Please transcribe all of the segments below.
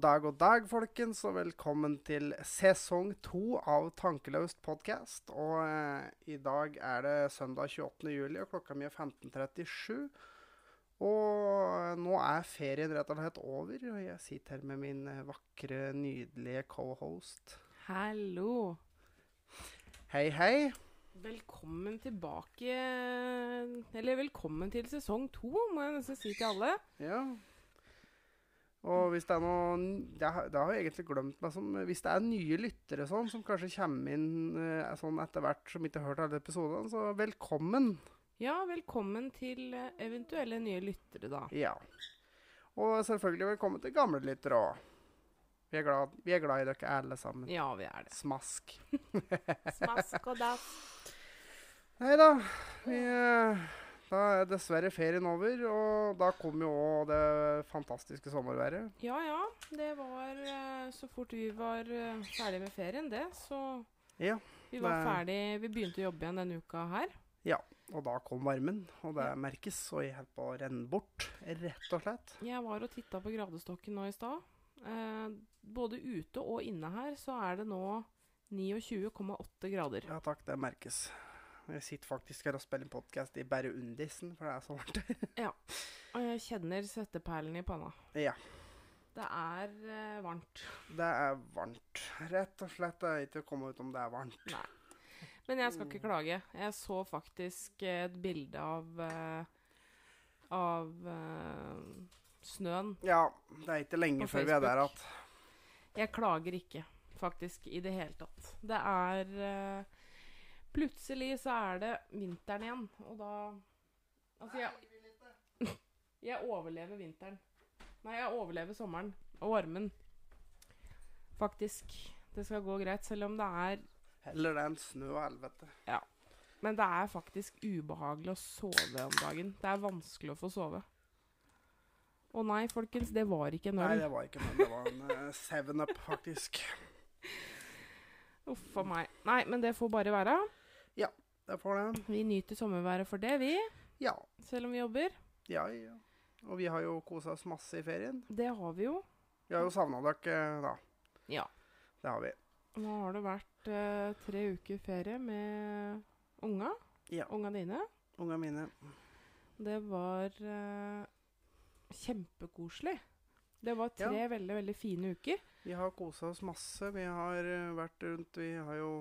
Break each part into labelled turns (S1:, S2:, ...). S1: dag, god dag, folkens, og velkommen til sesong to av Tankeløst podkast. Og eh, i dag er det søndag 28. juli, og klokka mi er 15.37. Og nå er ferien rett og slett over, og jeg sitter her med min vakre, nydelige co-host.
S2: Hallo.
S1: Hei, hei.
S2: Velkommen tilbake Eller velkommen til sesong to, må jeg nesten si til alle.
S1: Ja. Og hvis det er noen Det har det har jeg egentlig glemt meg sånn. Hvis det er nye lyttere sånn, som kanskje kommer inn eh, sånn etter hvert, som ikke har hørt alle episodene, så velkommen.
S2: Ja, velkommen til eh, eventuelle nye lyttere, da.
S1: Ja. Og selvfølgelig velkommen til gamle lyttere òg. Vi, er glad- vi er glad i dere alle sammen.
S2: Ja, vi er det.
S1: Smask.
S2: Smask og dass.
S1: Nei da. Vi, eh, da er dessverre ferien over, og da kom jo òg det fantastiske sommerværet.
S2: Ja ja, det var eh, så fort vi var eh, ferdig med ferien, det, så
S1: Ja,
S2: Vi var
S1: det-
S2: ferdig Vi begynte å jobbe igjen denne uka her.
S1: Og da kom varmen, og det merkes. Og jeg holdt på å renne bort, rett og slett.
S2: Jeg var og titta på gradestokken nå i stad. Eh, både ute og inne her så er det nå 29,8 grader.
S1: Ja takk, det merkes. Jeg sitter faktisk her og spiller podkast i bare undisen, for det er så varmt.
S2: Og jeg kjenner svetteperlene i panna.
S1: Ja.
S2: Det er eh, varmt.
S1: Det er varmt. Rett og slett det er ikke å komme ut om det er varmt.
S2: Men jeg skal ikke klage. Jeg så faktisk eh, et bilde av eh, Av eh, snøen.
S1: Ja, det er ikke lenge
S2: På
S1: før vi er der at
S2: Jeg klager ikke, faktisk, i det hele tatt. Det er eh, Plutselig så er det vinteren igjen, og da Altså, jeg Jeg overlever vinteren. Nei, jeg overlever sommeren og varmen. Faktisk. Det skal gå greit, selv om det er
S1: Heller det enn snø og helvete.
S2: Men det er faktisk ubehagelig å sove om dagen. Det er vanskelig å få sove. Å nei, folkens, det var ikke en
S1: Nei,
S2: øl.
S1: det var ikke noe. Det var en eh, seven up, faktisk.
S2: Uff a meg. Nei, men det får bare være.
S1: Det får det.
S2: Vi nyter sommerværet for det, vi.
S1: Ja,
S2: Selv om vi jobber.
S1: ja, ja. Og vi har jo kosa oss masse i ferien.
S2: Det har vi jo.
S1: Vi har jo savna dere, eh, da.
S2: Ja.
S1: Det har vi.
S2: Nå har det vært eh, tre uker ferie med unga.
S1: Ja.
S2: Unga dine.
S1: Ungene mine.
S2: Det var eh, kjempekoselig. Det var tre veldig, veldig fine uker.
S1: Vi har kosa oss masse. Vi har eh, vært rundt Vi har jo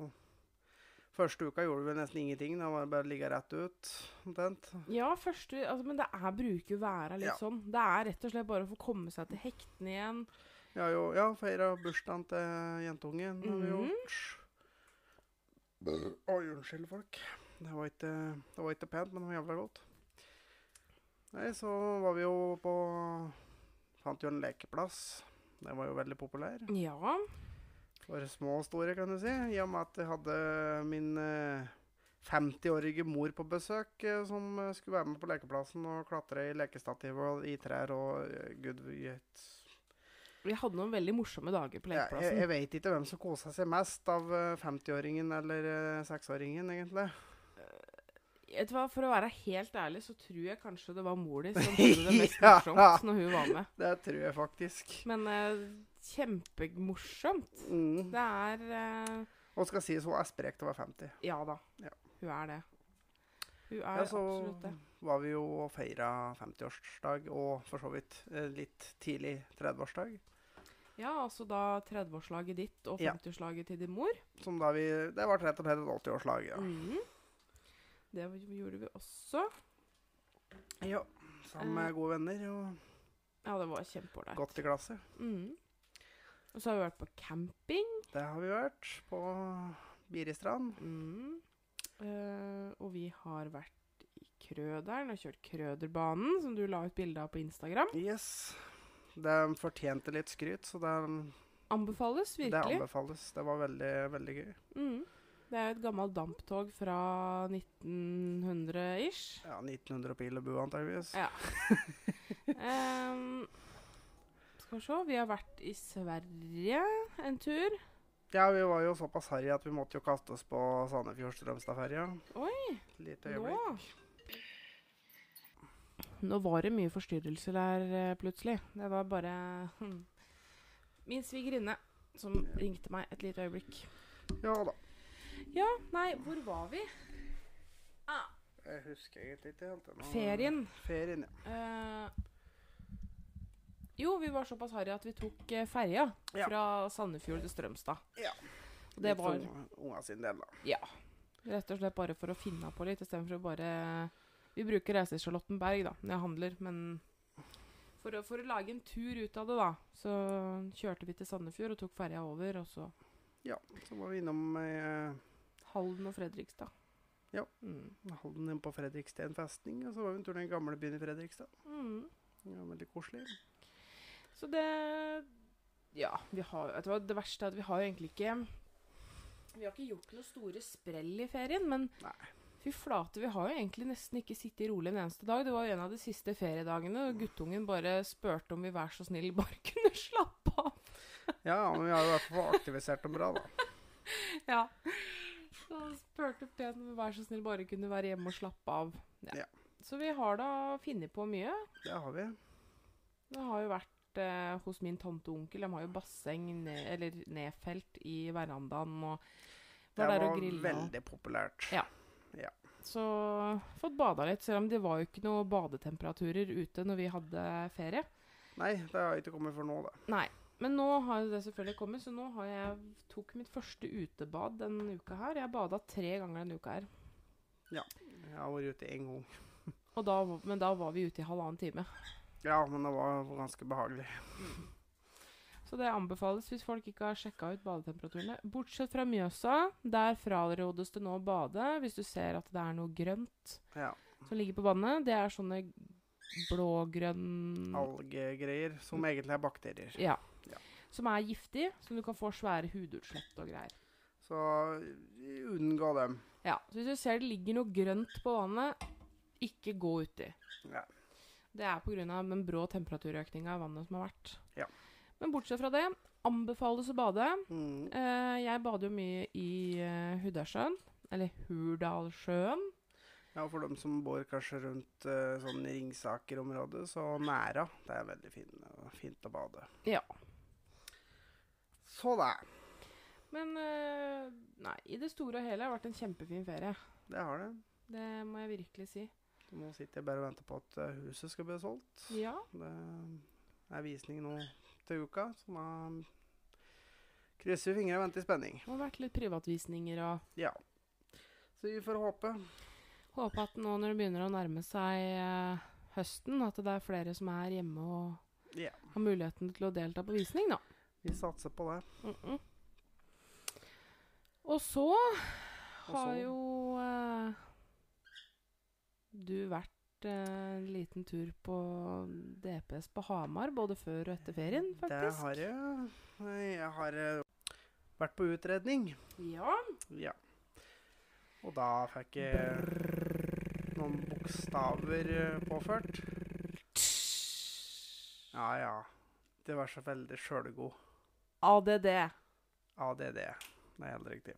S1: Første uka gjorde vi nesten ingenting. Da var det bare å ligge rett ut, omtrent.
S2: Ja, første, altså, men det er bruker være litt
S1: Ja.
S2: sånn. Det er rett og slett bare å få komme seg til hektene igjen.
S1: Vi har jo ja, feira bursdagen til jentungen. har vi
S2: Mhm.
S1: gjort. Oi, unnskyld, folk. Det var, ikke, det var ikke pent, men det var jævla godt. Nei, så var vi jo på Fant jo en lekeplass. Den var jo veldig populær.
S2: Ja.
S1: Bare små og store, kan du si. I og med at jeg hadde min eh, 50-årige mor på besøk, eh, som eh, skulle være med på lekeplassen og klatre i lekestativ og i trær og eh, gud vet.
S2: Vi hadde noen veldig morsomme dager på
S1: Jeg, jeg,
S2: lekeplassen.
S1: jeg vet ikke hvem som kosa seg mest av eh, 50-åringen eller eh, 6-åringen, egentlig.
S2: Vet du hva, For å være helt ærlig, så tror jeg kanskje det var mor di som hadde det mest
S1: Ja.
S2: morsomt når hun var med.
S1: Det tror jeg faktisk.
S2: Men eh, kjempemorsomt.
S1: Mm.
S2: Det er eh,
S1: Og skal sies hun er sprek til å være 50.
S2: Ja da.
S1: Ja.
S2: Hun er det. Hun er
S1: Ja, så
S2: absolutt det.
S1: var vi jo og feira 50-årsdag, og for så vidt eh, litt tidlig 30-årsdag.
S2: Ja, altså da 30-årslaget ditt og
S1: Ja.
S2: 50-årslaget til din mor.
S1: Som da vi Det ble rett og slett et 80-årslag, ja.
S2: Mhm. Det gjorde vi også.
S1: Ja, sammen
S2: Eh,
S1: med gode venner og
S2: Ja, det var kjempeålreit.
S1: godt i glasset.
S2: Mhm. Og så har vi vært på camping.
S1: Det har vi vært på Biristrand.
S2: Mhm. Eh, og vi har vært i Krøderen og kjørt Krøderbanen, som du la ut bilde av på Instagram.
S1: Yes. Det fortjente litt skryt, så det,
S2: Anbefales
S1: det
S2: virkelig.
S1: anbefales. Det var veldig, veldig gøy.
S2: Mhm. Det er jo et gammelt damptog fra 1900-ish.
S1: Ja, 1900 pil og bue, antageligvis.
S2: Ja. Ehm, skal vi se Vi har vært i Sverige en tur.
S1: Ja, vi var jo såpass harry at vi måtte jo kaste oss på Sandefjord-Strømstadferja.
S2: Oi,
S1: Lite
S2: nå
S1: øyeblikk.
S2: Nå var det mye forstyrrelser der eh, plutselig. Det var bare Min svigerinne som ringte meg et lite øyeblikk.
S1: Ja da.
S2: Ja, nei, hvor var vi? Ah,
S1: Jeg husker egentlig ikke helt ennå.
S2: ferien.
S1: Ferien, ja.
S2: Eh, jo, vi var såpass harry at vi tok eh, ferja
S1: Ja.
S2: fra Sandefjord til Strømstad.
S1: Ja.
S2: Det
S1: Litt sånn
S2: var
S1: for unga- unga sin del, da.
S2: ja, rett og slett bare for å finne på litt, istedenfor å bare Vi bruker reiser til Charlottenberg da, når jeg handler, men for å, for å lage en tur ut av det, da, så kjørte vi til Sandefjord og tok ferja over, og så
S1: Ja, så var vi innom eh,
S2: Halden og Fredrikstad.
S1: Ja.
S2: Mm.
S1: Halden inn på Fredriksten festning, og så var vi en tur til den gamle byen i Fredrikstad.
S2: Mm.
S1: Det var veldig koselig.
S2: Så det Ja, vi har, vet du hva, det verste er at vi har jo egentlig ikke Vi har ikke gjort noe store sprell i ferien, men
S1: Nei.
S2: fy flate, vi har jo egentlig nesten ikke sittet rolig en eneste dag. Det var jo en av de siste feriedagene, og guttungen bare spurte om vi vær så snill bare kunne slappe av.
S1: Ja, ja, men vi har i hvert fall aktivisert dem bra, da.
S2: Ja. Så han spurte pent om vi vær så snill bare kunne være hjemme og slappe av.
S1: Ja.
S2: Så vi har da funnet på mye.
S1: Det har vi.
S2: Det har jo vært eh, hos min tante og onkel. De har jo basseng ned, eller nedfelt i verandaen. Og
S1: Det
S2: var der og
S1: var
S2: grilla.
S1: veldig populært.
S2: Ja. Så fått bada litt, selv om det var jo ikke noe badetemperaturer ute når vi hadde ferie.
S1: Nei, det har ikke kommet for nå, da.
S2: Nei. Men nå har jo det selvfølgelig kommet, så nå har jeg tok mitt første utebad denne uka her. Jeg bada tre ganger denne uka her.
S1: Jeg har vært ute en gang.
S2: Og da, men da var vi ute i halvannen time.
S1: Ja, men det var ganske behagelig.
S2: Så det anbefales hvis folk ikke har sjekka ut badetemperaturene. Bortsett fra Mjøsa. Der frarådes det nå å bade hvis du ser at det er noe grønt
S1: Ja.
S2: som ligger på vannet. Det er sånne blågrønn
S1: Algegreier, som egentlig er bakterier.
S2: Mm. Ja.
S1: Ja.
S2: Som er giftig, som du kan få svære hudutslett og greier.
S1: Så unngå dem.
S2: Ja, Så hvis du ser det ligger noe grønt på vannet, ikke gå uti.
S1: Ja.
S2: Det er pga. den brå temperaturøkninga i vannet som har vært.
S1: Ja.
S2: Men bortsett fra det, anbefales å bade.
S1: Mm.
S2: Eh, jeg bader jo mye i eh, Hurdalssjøen. Eller Hurdalssjøen.
S1: Ja, for dem som bor kanskje rundt eh, sånn Ringsaker-området, så Næra. Det er veldig fin, fint å bade.
S2: Ja.
S1: Så det.
S2: Men eh, nei, i det store og hele har det vært en kjempefin ferie.
S1: Det har det.
S2: Det må jeg virkelig si.
S1: Nå sitter jeg bare og venter på at eh, huset skal bli solgt.
S2: Ja.
S1: Det eh, er visning nå til uka, så da krysser vi fingrene og venter i spenning.
S2: Det har vært litt privatvisninger og
S1: Ja. Så vi får håpe.
S2: Håpe at nå når det begynner å nærme seg eh, høsten, at det er flere som er hjemme og
S1: Ja.
S2: har muligheten til å delta på visning, da.
S1: Vi satser på det.
S2: Mm-mm. Og så har
S1: så?
S2: jo eh, du vært eh, en liten tur på DPS på Hamar, både før og etter ferien,
S1: Det
S2: faktisk.
S1: har jeg. Jeg har eh, vært på utredning.
S2: Ja.
S1: Ja. Og da fikk jeg noen bokstaver eh, påført. Ja, ja. Det var så veldig sjølgod.
S2: ADD.
S1: ADD. Det er helt riktig.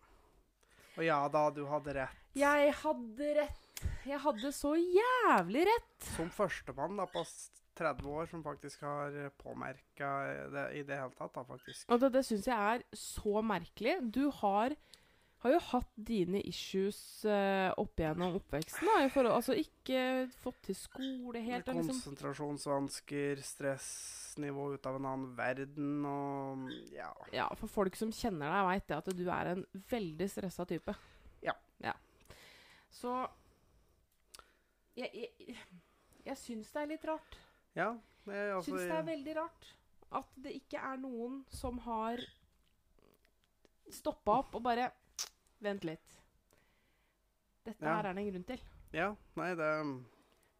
S1: Og ja da, du hadde rett.
S2: Jeg hadde rett. Jeg hadde så jævlig rett.
S1: Som førstemann da, på s- 30 år som faktisk har påmerka det i det hele tatt, da, faktisk.
S2: Og det, det syns jeg er så merkelig. Du har, har jo hatt dine issues eh, opp igjennom oppveksten. Da, i forhold, altså ikke fått til skole helt. Og liksom,
S1: Konsentrasjonsvansker, stressnivå ut av en annen verden og ja.
S2: ja, for folk som kjenner deg, veit det at du er en veldig stressa type.
S1: Ja.
S2: Så Jeg, jeg, jeg syns det er litt rart.
S1: Ja, det, er altså,
S2: syns det er veldig rart at det ikke er noen som har stoppa opp og bare Vent litt. Dette
S1: Ja.
S2: her er det en grunn til.
S1: ja, nei, det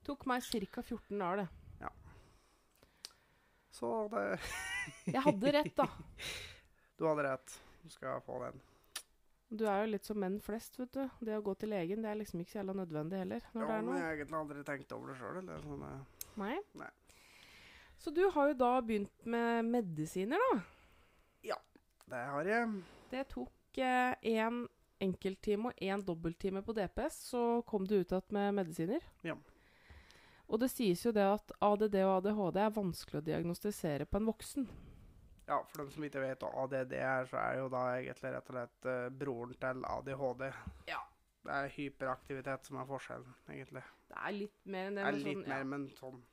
S2: Tok meg ca. 14 dager, det.
S1: Så det
S2: Jeg hadde rett, da.
S1: Du hadde rett. Du skal få den.
S2: Du er jo litt som menn flest, vet du. Det å gå til legen det er liksom ikke så jævla nødvendig heller.
S1: Ja,
S2: Når det er
S1: men jeg
S2: noe.
S1: har egentlig aldri tenkt over det sjøl. Sånn, eh,
S2: Nei.
S1: Nei.
S2: Så du har jo da begynt med medisiner, da.
S1: det har jeg.
S2: Det tok én en enkelttime og én en dobbelttime på DPS, så kom du ut igjen med medisiner.
S1: Ja.
S2: Og det sies jo det at ADD og ADHD er vanskelig å diagnostisere på en voksen.
S1: Ja, for dem som ikke vet hva ADD er, så er jo da egentlig rett og slett eh, broren til ADHD.
S2: Ja.
S1: Det er hyperaktivitet som er forskjellen, egentlig.
S2: Det er litt mer enn det.
S1: Det er
S2: men
S1: litt
S2: sånn, ja.
S1: mer, men sånn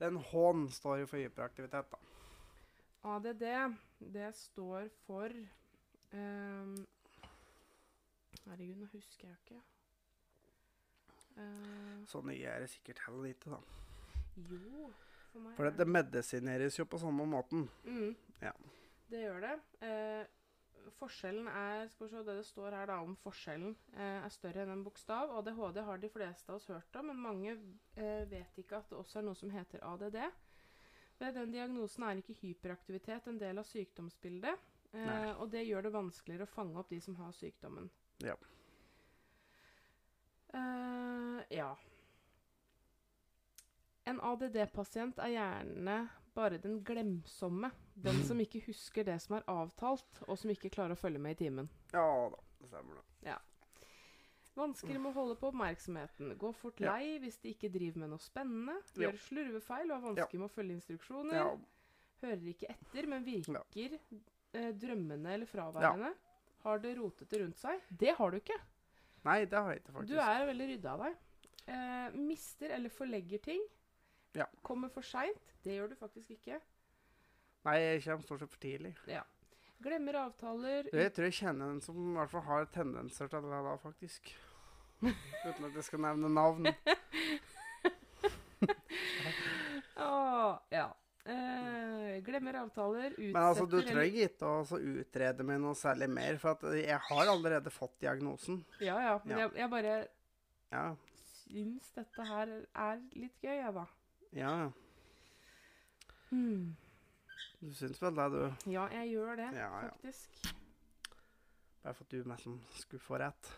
S1: Den H-en står jo for hyperaktivitet, da.
S2: ADD, det står for ehm, Herregud, nå husker jeg jo ikke. Eh,
S1: Så nye er det Sånn sikkert heller ikke, da.
S2: jo For meg
S1: For
S2: er
S1: det, det medisineres jo på samme måten.
S2: Mm.
S1: Ja.
S2: Det gjør det. Eh, forskjellen er Skal vi se, det det står her da om forskjellen eh, er større enn en bokstav. ADHD har de fleste av oss hørt om, men mange eh, vet ikke at det også er noe som heter ADD. Ved den diagnosen er ikke hyperaktivitet en del av sykdomsbildet. Eh,
S1: Nei.
S2: og det gjør det vanskeligere å fange opp de som har sykdommen.
S1: Ja.
S2: Eh, ja. En ADD-pasient er gjerne bare den glemsomme. Den som ikke husker det som er avtalt, og som ikke klarer å følge med i timen.
S1: Ja da, det stemmer det.
S2: Vansker med å holde på oppmerksomheten. Gå fort
S1: Ja.
S2: lei hvis de ikke driver med noe spennende.
S1: Ja.
S2: Gjør slurvefeil og har vansker med å følge instruksjoner.
S1: Ja,
S2: Hører ikke etter, men virker eh, drømmende eller fraværende. Har det rotete rundt seg. Det har du ikke.
S1: nei, det har jeg ikke, faktisk.
S2: Du er veldig rydda av deg. Eh, mister eller forlegger ting.
S1: Ja.
S2: Kommer for seint. Det gjør du faktisk ikke.
S1: Nei, jeg kommer stort sett for tidlig.
S2: Glemmer avtaler.
S1: Du, jeg tror jeg kjenner en som i hvert fall har tendenser til det da, faktisk. Uten at jeg skal nevne navn.
S2: Åh, ja. Eh, glemmer avtaler, utsetter
S1: Men altså, du
S2: eller-
S1: trenger ikke å så utrede meg noe særlig mer, for at jeg har allerede fått diagnosen.
S2: Ja, ja. Men
S1: Ja.
S2: Jeg, jeg bare
S1: Ja,
S2: syns dette her er litt gøy, jeg, da.
S1: ja. Du syns vel det, du.
S2: Ja, jeg gjør det,
S1: Ja, ja.
S2: faktisk.
S1: Bare for at du mest som skulle få rett.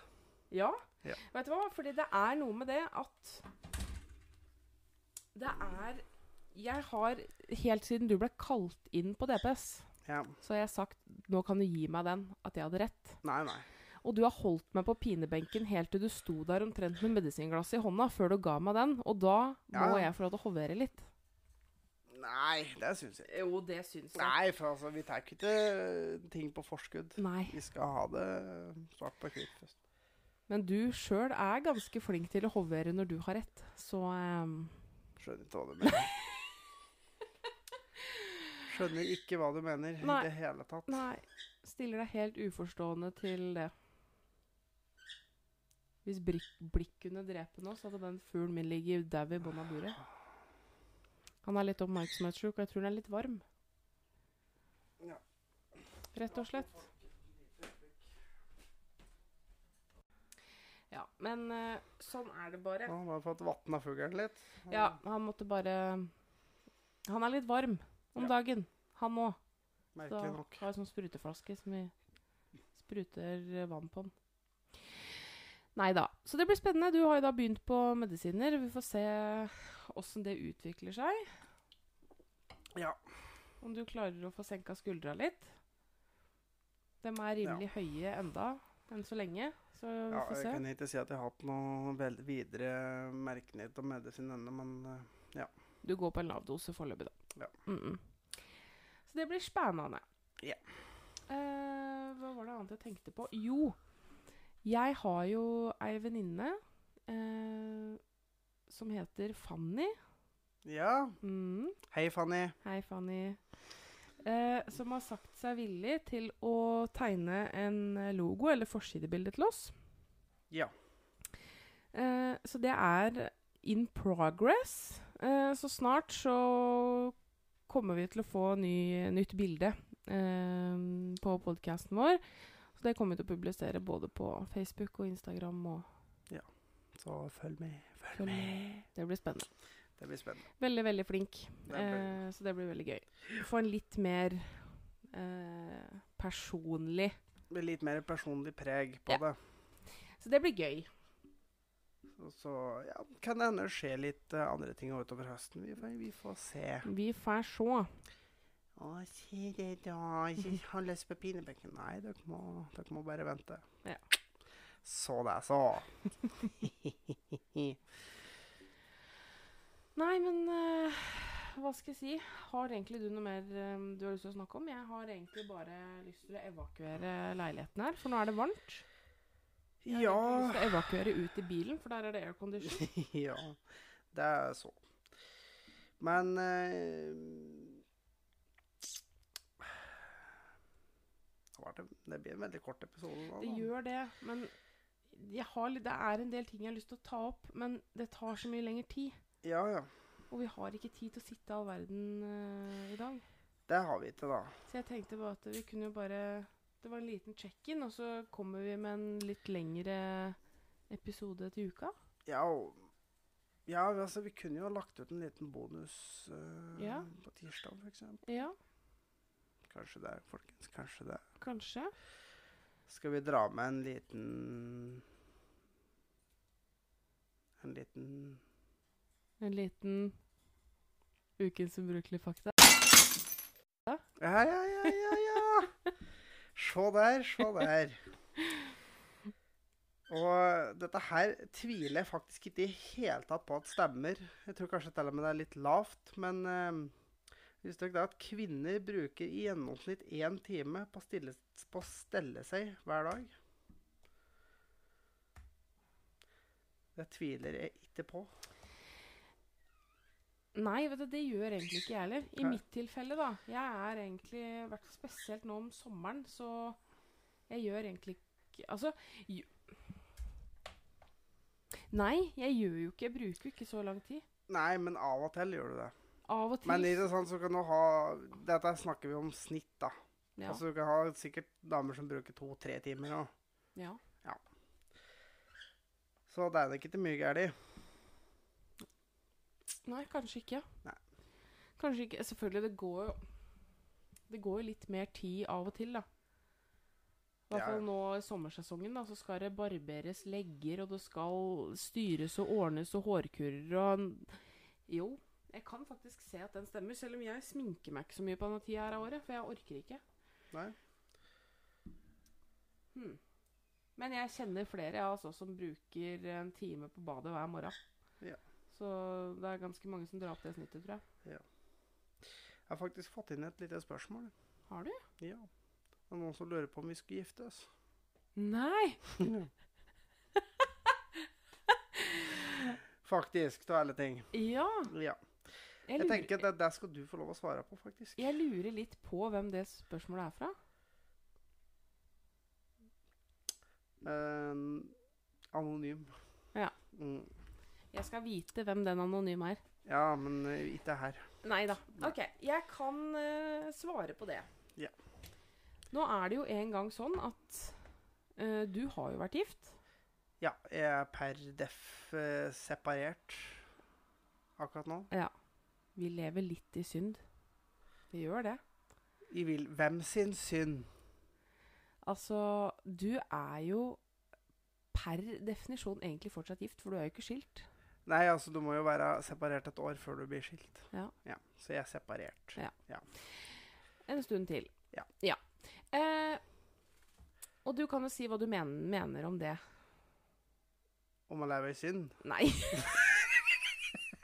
S2: Ja.
S1: Ja.
S2: Vet du hva? Fordi det er noe med det at Det er Jeg har helt siden du ble kalt inn på DPS,
S1: Ja.
S2: så har jeg sagt nå kan du gi meg den, at jeg hadde rett.
S1: Nei, nei.
S2: Og du har holdt meg på pinebenken helt til du sto der omtrent med medisinglasset i hånda før du ga meg den, og da
S1: Ja,
S2: må
S1: ja.
S2: jeg få lov til å hovere litt.
S1: Nei, det syns jeg.
S2: Jo, det syns
S1: Nei, for altså, vi tar ikke til ting på forskudd.
S2: Nei.
S1: Vi skal ha det svart på hvitt først.
S2: Men du sjøl er ganske flink til å hovere når du har rett, så ehm,
S1: Skjønner ikke hva du mener. Skjønner ikke hva du mener
S2: Nei.
S1: i det hele tatt.
S2: Nei. Stiller deg helt uforstående til det. Hvis blikk, blikk kunne drepe nå, så hadde den fuglen min ligget dau i bunnen av buret. Han er litt oppmerksomhetssjuk, og jeg tror han er litt varm.
S1: Ja.
S2: Rett og slett. Ja, men eh, sånn er det bare.
S1: Nå har vi fått vatna fuglen litt.
S2: Ja, han måtte bare Han er litt varm om
S1: Ja.
S2: dagen, han òg. Så
S1: Merkelig nok.
S2: har jeg sånn spruteflaske som vi spruter eh, vann på. Nei da. Så det blir spennende. Du har jo da begynt på medisiner. Vi får se åssen det utvikler seg.
S1: Ja.
S2: Om du klarer å få senka skuldra litt. De er rimelig høye enda, enn så lenge. Så vi
S1: Ja,
S2: får
S1: jeg
S2: se.
S1: kan ikke si at jeg har hatt noe vel- videre merkenhet om medisin ennå, men eh,
S2: Du går på en lav dose foreløpig, da.
S1: Ja.
S2: Mm-mm. Så det blir spennende.
S1: Ja.
S2: Eh, hva var det annet jeg tenkte på? Jo, jeg har jo ei venninne eh, som heter Fanny.
S1: ja.
S2: Mm.
S1: Hei, Fanny.
S2: Hei, Fanny. Eh, som har sagt seg villig til å tegne en eh, logo eller forsidebilde til oss.
S1: Ja.
S2: Eh, så det er in progress. Eh, så snart så kommer vi til å få ny, nytt bilde eh, på podkasten vår. Så det kommer vi til å publisere både på Facebook og Instagram. Og
S1: Så følg med. Følg,
S2: Følg
S1: med.
S2: det blir spennende.
S1: Det blir spennende.
S2: Veldig, veldig flink.
S1: Det blir-
S2: Eh, så det blir veldig gøy. Få en litt mer eh, personlig
S1: Det blir litt mer personlig preg på
S2: Eh. Ja.
S1: det.
S2: Så det blir gøy.
S1: Så, så ja, kan det hende det skjer litt eh, andre ting utover høsten. Vi, får- vi får se.
S2: Vi får se.
S1: Å, si det da. Jeg har lyst på pinebenken. Nei, dere må, dere må bare vente.
S2: Ja.
S1: Så det, så.
S2: Nei, men eh, hva skal jeg si? Har egentlig du noe mer eh, du har lyst til å snakke om? Jeg har egentlig bare lyst til å evakuere leiligheten her, for nå er det varmt. Jeg har egentlig
S1: Ja
S2: lyst til å evakuere ut i bilen, for der er det aircondition.
S1: Ja, det er så. Men eh, det var det, det blir en veldig kort episode. nå,
S2: Det
S1: da.
S2: gjør det, men jeg har, litt- det er en del ting jeg har lyst til å ta opp, men det tar så mye lengre tid.
S1: Ja, ja.
S2: Og vi har ikke tid til å sitte all verden eh, i dag.
S1: Det har vi ikke, da.
S2: Så jeg tenkte bare at vi kunne jo bare Det var en liten check-in, og så kommer vi med en litt lengre episode til uka.
S1: Ja, og, ja altså, vi kunne jo ha lagt ut en liten bonus eh,
S2: Ja.
S1: på tirsdag, f.eks.
S2: Ja,
S1: Kanskje det, folkens. Kanskje det.
S2: kanskje.
S1: Skal vi dra med en liten En liten
S2: En liten Ukens ubrukelige fakta.
S1: Ja, ja, ja, ja, ja. Se der, se der. Og dette her tviler jeg faktisk ikke i hele tatt på at stemmer. Jeg tror kanskje til og med det er litt lavt, men eh, visste dere da at kvinner bruker i gjennomsnitt én time på å stille, på å stelle seg hver dag? Det tviler jeg ikke på.
S2: Nei, vet du, det gjør egentlig ikke jeg heller. I
S1: Nei.
S2: mitt tilfelle, da. Jeg er egentlig i hvert fall spesielt nå om sommeren, så jeg gjør egentlig ikke Altså jo. Nei, jeg gjør jo ikke Jeg bruker jo ikke så lang tid.
S1: Nei, men av og til gjør du det.
S2: Av og til
S1: Men i det sånn så kan du ha Dette snakker vi om snitt, da.
S2: ja,
S1: Altså, du kan ha sikkert damer som bruker to-tre timer òg.
S2: ja.
S1: Så det er nok ikke mye galt i.
S2: Nei, kanskje ikke.
S1: Nei.
S2: Kanskje ikke. Selvfølgelig, det går jo Det går jo litt mer tid av og til, da. I hvert
S1: Ja,
S2: fall
S1: ja.
S2: nå i sommersesongen, da, så skal det barberes legger, og det skal styres og ordnes og hårkurer og Jo, jeg kan faktisk se at den stemmer, selv om jeg sminker meg ikke så mye på denne tida her av året, for jeg orker ikke.
S1: Nei.
S2: Hmm. Men jeg kjenner flere jeg, altså, som bruker en time på badet hver morgen.
S1: Ja.
S2: Så det er ganske mange som drar opp det snittet, tror jeg.
S1: Jeg har faktisk fått inn et lite spørsmål.
S2: Har du?
S1: Ja. Det er noen som lurer på om vi skulle gifte oss.
S2: Nei!
S1: Faktisk, av alle ting.
S2: Ja,
S1: Ja.
S2: jeg
S1: Jeg
S2: lurer,
S1: tenker at det, det skal du få lov å svare på, faktisk.
S2: jeg lurer litt på hvem det spørsmålet er fra.
S1: Eh, anonym.
S2: Ja.
S1: Mm.
S2: Jeg skal vite hvem den anonyme er.
S1: Ja, men eh, ikke her.
S2: Nei da. Ok, jeg kan eh, svare på det.
S1: Ja.
S2: Nå er det jo en gang sånn at eh, du har jo vært gift.
S1: Ja, jeg er per def eh, separert akkurat nå.
S2: Vi lever litt i synd. Vi gjør det.
S1: I vil, hvem sin synd?
S2: Altså, du er jo per definisjon egentlig fortsatt gift, for du er jo ikke skilt.
S1: Nei, altså du må jo være separert et år før du blir skilt.
S2: Ja.
S1: så jeg er separert.
S2: Ja. En stund til.
S1: Ja.
S2: Eh, og du kan jo si hva du men mener om det.
S1: Om å leve i synd?
S2: Nei.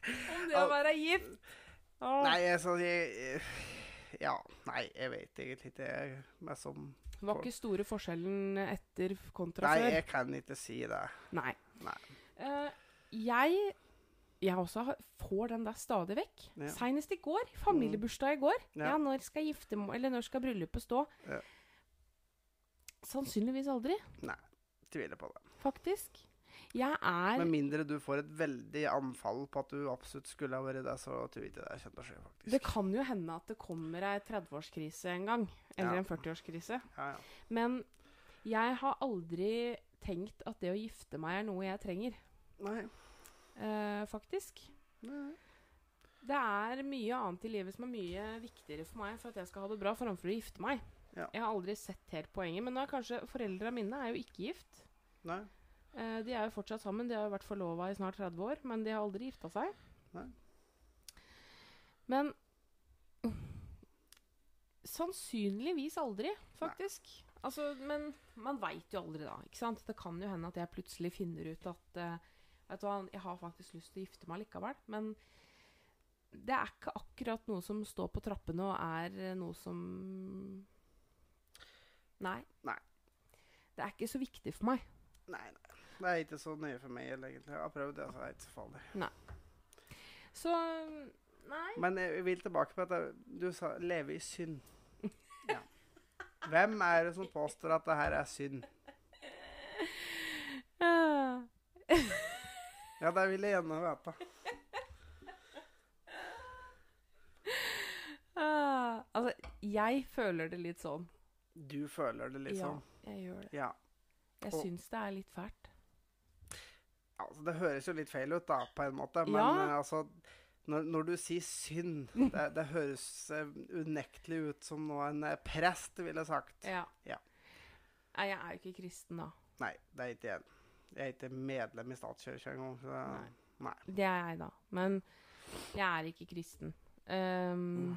S2: Om det å
S1: Al-
S2: være gift. Åh.
S1: Nei, altså jeg, Ja, nei, jeg vet egentlig ikke jeg- meg som
S2: Var ikke store forskjellen etter kontra
S1: Nei,
S2: før?
S1: jeg kan ikke si det.
S2: Nei.
S1: Nei.
S2: Eh, jeg jeg også har- får den der stadig vekk.
S1: Ja.
S2: Senest i går. Familiebursdag i går. Ja,
S1: Ja.
S2: når skal giftermål Eller når skal bryllupet stå?
S1: Ja.
S2: Sannsynligvis aldri,
S1: Tviler på det.
S2: faktisk. Jeg er
S1: Med mindre du får et veldig anfall på at du absolutt skulle ha vært det, så tror jeg ikke det kommer til å skje, faktisk.
S2: Det kan jo hende at det kommer ei 30-årskrise en gang. Eller
S1: Ja.
S2: en 40-årskrise.
S1: Ja, ja.
S2: Men jeg har aldri tenkt at det å gifte meg er noe jeg trenger,
S1: Nei.
S2: eh, faktisk.
S1: nei.
S2: Det er mye annet i livet som er mye viktigere for meg for at jeg skal ha det bra, framfor å gifte meg.
S1: Ja.
S2: Jeg har aldri sett helt poenget. Men nå er kanskje foreldra mine er jo ikke gift.
S1: nei.
S2: Eh, de er jo fortsatt sammen. De har jo vært forlova i snart 30 år, men de har aldri gifta seg.
S1: Nei.
S2: Men sannsynligvis aldri, faktisk. Altså, men man veit jo aldri, da. ikke sant? Det kan jo hende at jeg plutselig finner ut at eh, Vet du hva, jeg har faktisk lyst til å gifte meg likevel, men det er ikke akkurat noe som står på trappene og er eh, noe som Nei.
S1: Nei.
S2: Det er ikke så viktig for meg.
S1: Nei, nei. Det er ikke så nøye for meg egentlig. Jeg har prøvd det, så det er ikke så farlig.
S2: Så Nei.
S1: Men jeg vil tilbake på at du sa 'leve i synd'. Ja. Hvem er det som påstår at det her er synd?
S2: Eh,
S1: Ja, det vil jeg gjerne vite.
S2: eh, altså, jeg føler det litt sånn.
S1: Du føler det, liksom.
S2: Ja, jeg gjør det.
S1: Ja.
S2: Jeg
S1: Og-
S2: syns det er litt fælt.
S1: Altså, det høres jo litt feil ut, da, på en måte. Men
S2: Ja.
S1: eh, altså når, når du sier synd, det, det høres eh, unektelig ut som noe en eh, prest ville sagt.
S2: Ja.
S1: Ja.
S2: Nei, jeg er jo ikke kristen, da.
S1: Nei, det er ikke jeg. Jeg er ikke medlem i statskirka engang. så-
S2: Nei.
S1: Nei.
S2: Det er jeg, da. Men jeg er ikke kristen. Ehm,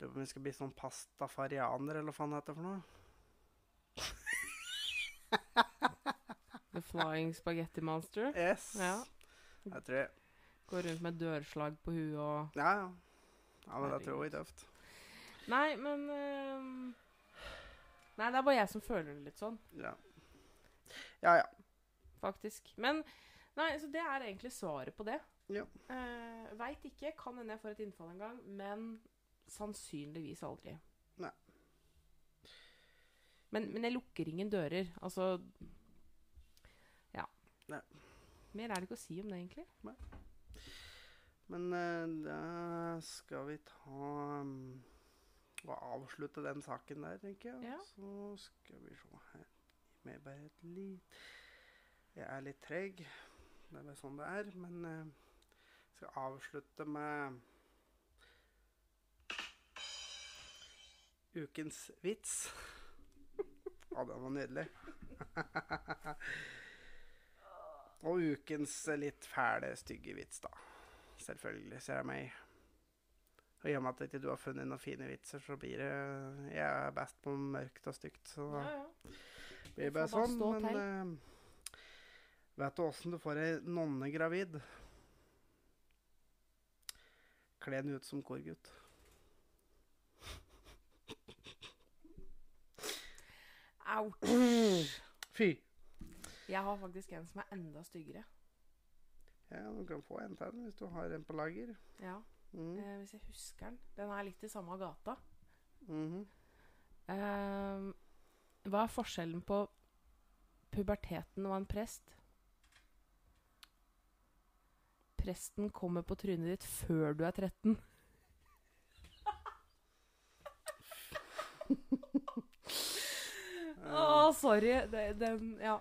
S1: Lurer på om vi skal bli sånn pastafarianer, eller hva faen det heter for noe.
S2: The Flying Spaghetti Monster.
S1: Yes.
S2: Ja.
S1: Jeg tror jeg.
S2: Går rundt med dørslag på huet og
S1: Ja, ja. Ja, men det tror jeg er tøft.
S2: Nei, men ehm, Nei, det er bare jeg som føler det litt sånn,
S1: Ja. ja, ja.
S2: faktisk. Men Nei, så det er egentlig svaret på det.
S1: Ja.
S2: Eh, Veit ikke. Kan hende jeg får et innfall en gang, men sannsynligvis aldri.
S1: Nei.
S2: Men, men jeg lukker ingen dører. Altså Ja.
S1: Nei.
S2: Mer er det ikke å si om det, egentlig.
S1: Men eh, da skal vi ta um, og avslutte den saken der, tenker jeg.
S2: Ja.
S1: Så skal vi se her. Gi meg bare et litt Jeg er litt treg. Det er bare sånn det er. Men eh, jeg skal avslutte med ukens vits. Å, den var nydelig. og ukens litt fæle, stygge vits, da. Selvfølgelig, sier jeg meg. Og i og med at ikke du har funnet noen fine vitser, så blir det Jeg er best på mørkt og stygt, så da
S2: Ja, ja.
S1: blir det bare
S2: får bare
S1: sånn.
S2: stå
S1: Men eh, vet du åssen du får ei nonne gravid? Kle den ut som korgutt.
S2: Au.
S1: Fy!
S2: Jeg har faktisk en som er enda styggere.
S1: Ja, du kan få en til hvis du har en på lager.
S2: Ja,
S1: Mm.
S2: eh, Hvis jeg husker den. Den er litt i samme gata.
S1: Mhm.
S2: Ehm, hva er forskjellen på puberteten og en prest? Presten kommer på trynet ditt før du er 13. Å,
S1: Eh,
S2: sorry. Det, den Ja.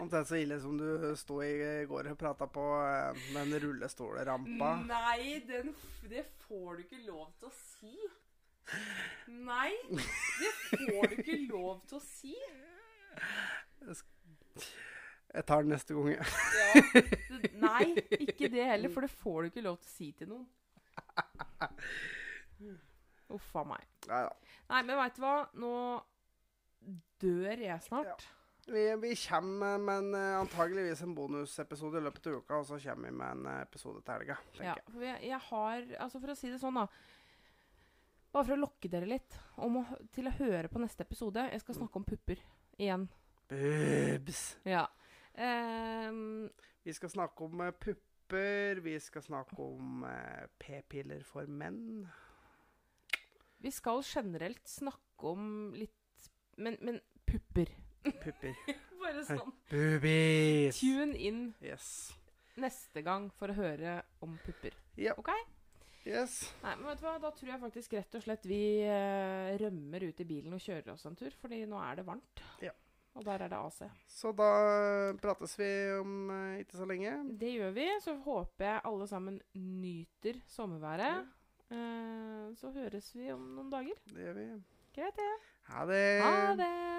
S1: Omtrent så ille som du sto i går og prata på eh, den rullestolrampa.
S2: Mm. Nei, den, f- det får du ikke lov til å si. Nei, det får du ikke lov til å si.
S1: Jeg tar den neste gang. jeg.
S2: Ja. det- Nei, ikke det heller, for det får du ikke lov til å si til noen. Uff a meg.
S1: Nei da.
S2: Nei, men veit du hva? Nå dør jeg snart.
S1: Vi, vi kommer med en, eh, antageligvis en bonusepisode i løpet av uka, og så kommer vi med en eh, episode til helga.
S2: Ja,
S1: tenker jeg.
S2: for jeg, jeg har Altså, for å si det sånn, da. Bare for å lokke dere litt om å, hø- til å høre på neste episode. Jeg skal snakke om pupper igjen.
S1: Boobs.
S2: Ja. Ehm,
S1: Vi skal snakke om eh, pupper, vi skal snakke om eh, p-piller for menn.
S2: vi skal generelt snakke om litt Men, men pupper.
S1: Pupper.
S2: Bare sånn.
S1: Boobies!
S2: Tune inn
S1: Yes.
S2: neste gang for å høre om pupper.
S1: Ja.
S2: Ok?
S1: Yes.
S2: Nei, men vet du hva? Da tror jeg faktisk rett og slett vi eh, rømmer ut i bilen og kjører oss en tur, fordi nå er det varmt.
S1: Ja.
S2: Og der er det AC.
S1: Så da eh, prates vi om eh, ikke så lenge.
S2: Det gjør vi. Så håper jeg alle sammen nyter sommerværet. Eh, så høres vi om noen dager.
S1: Det gjør vi.
S2: Greit, det.
S1: Ha det!
S2: Ha det!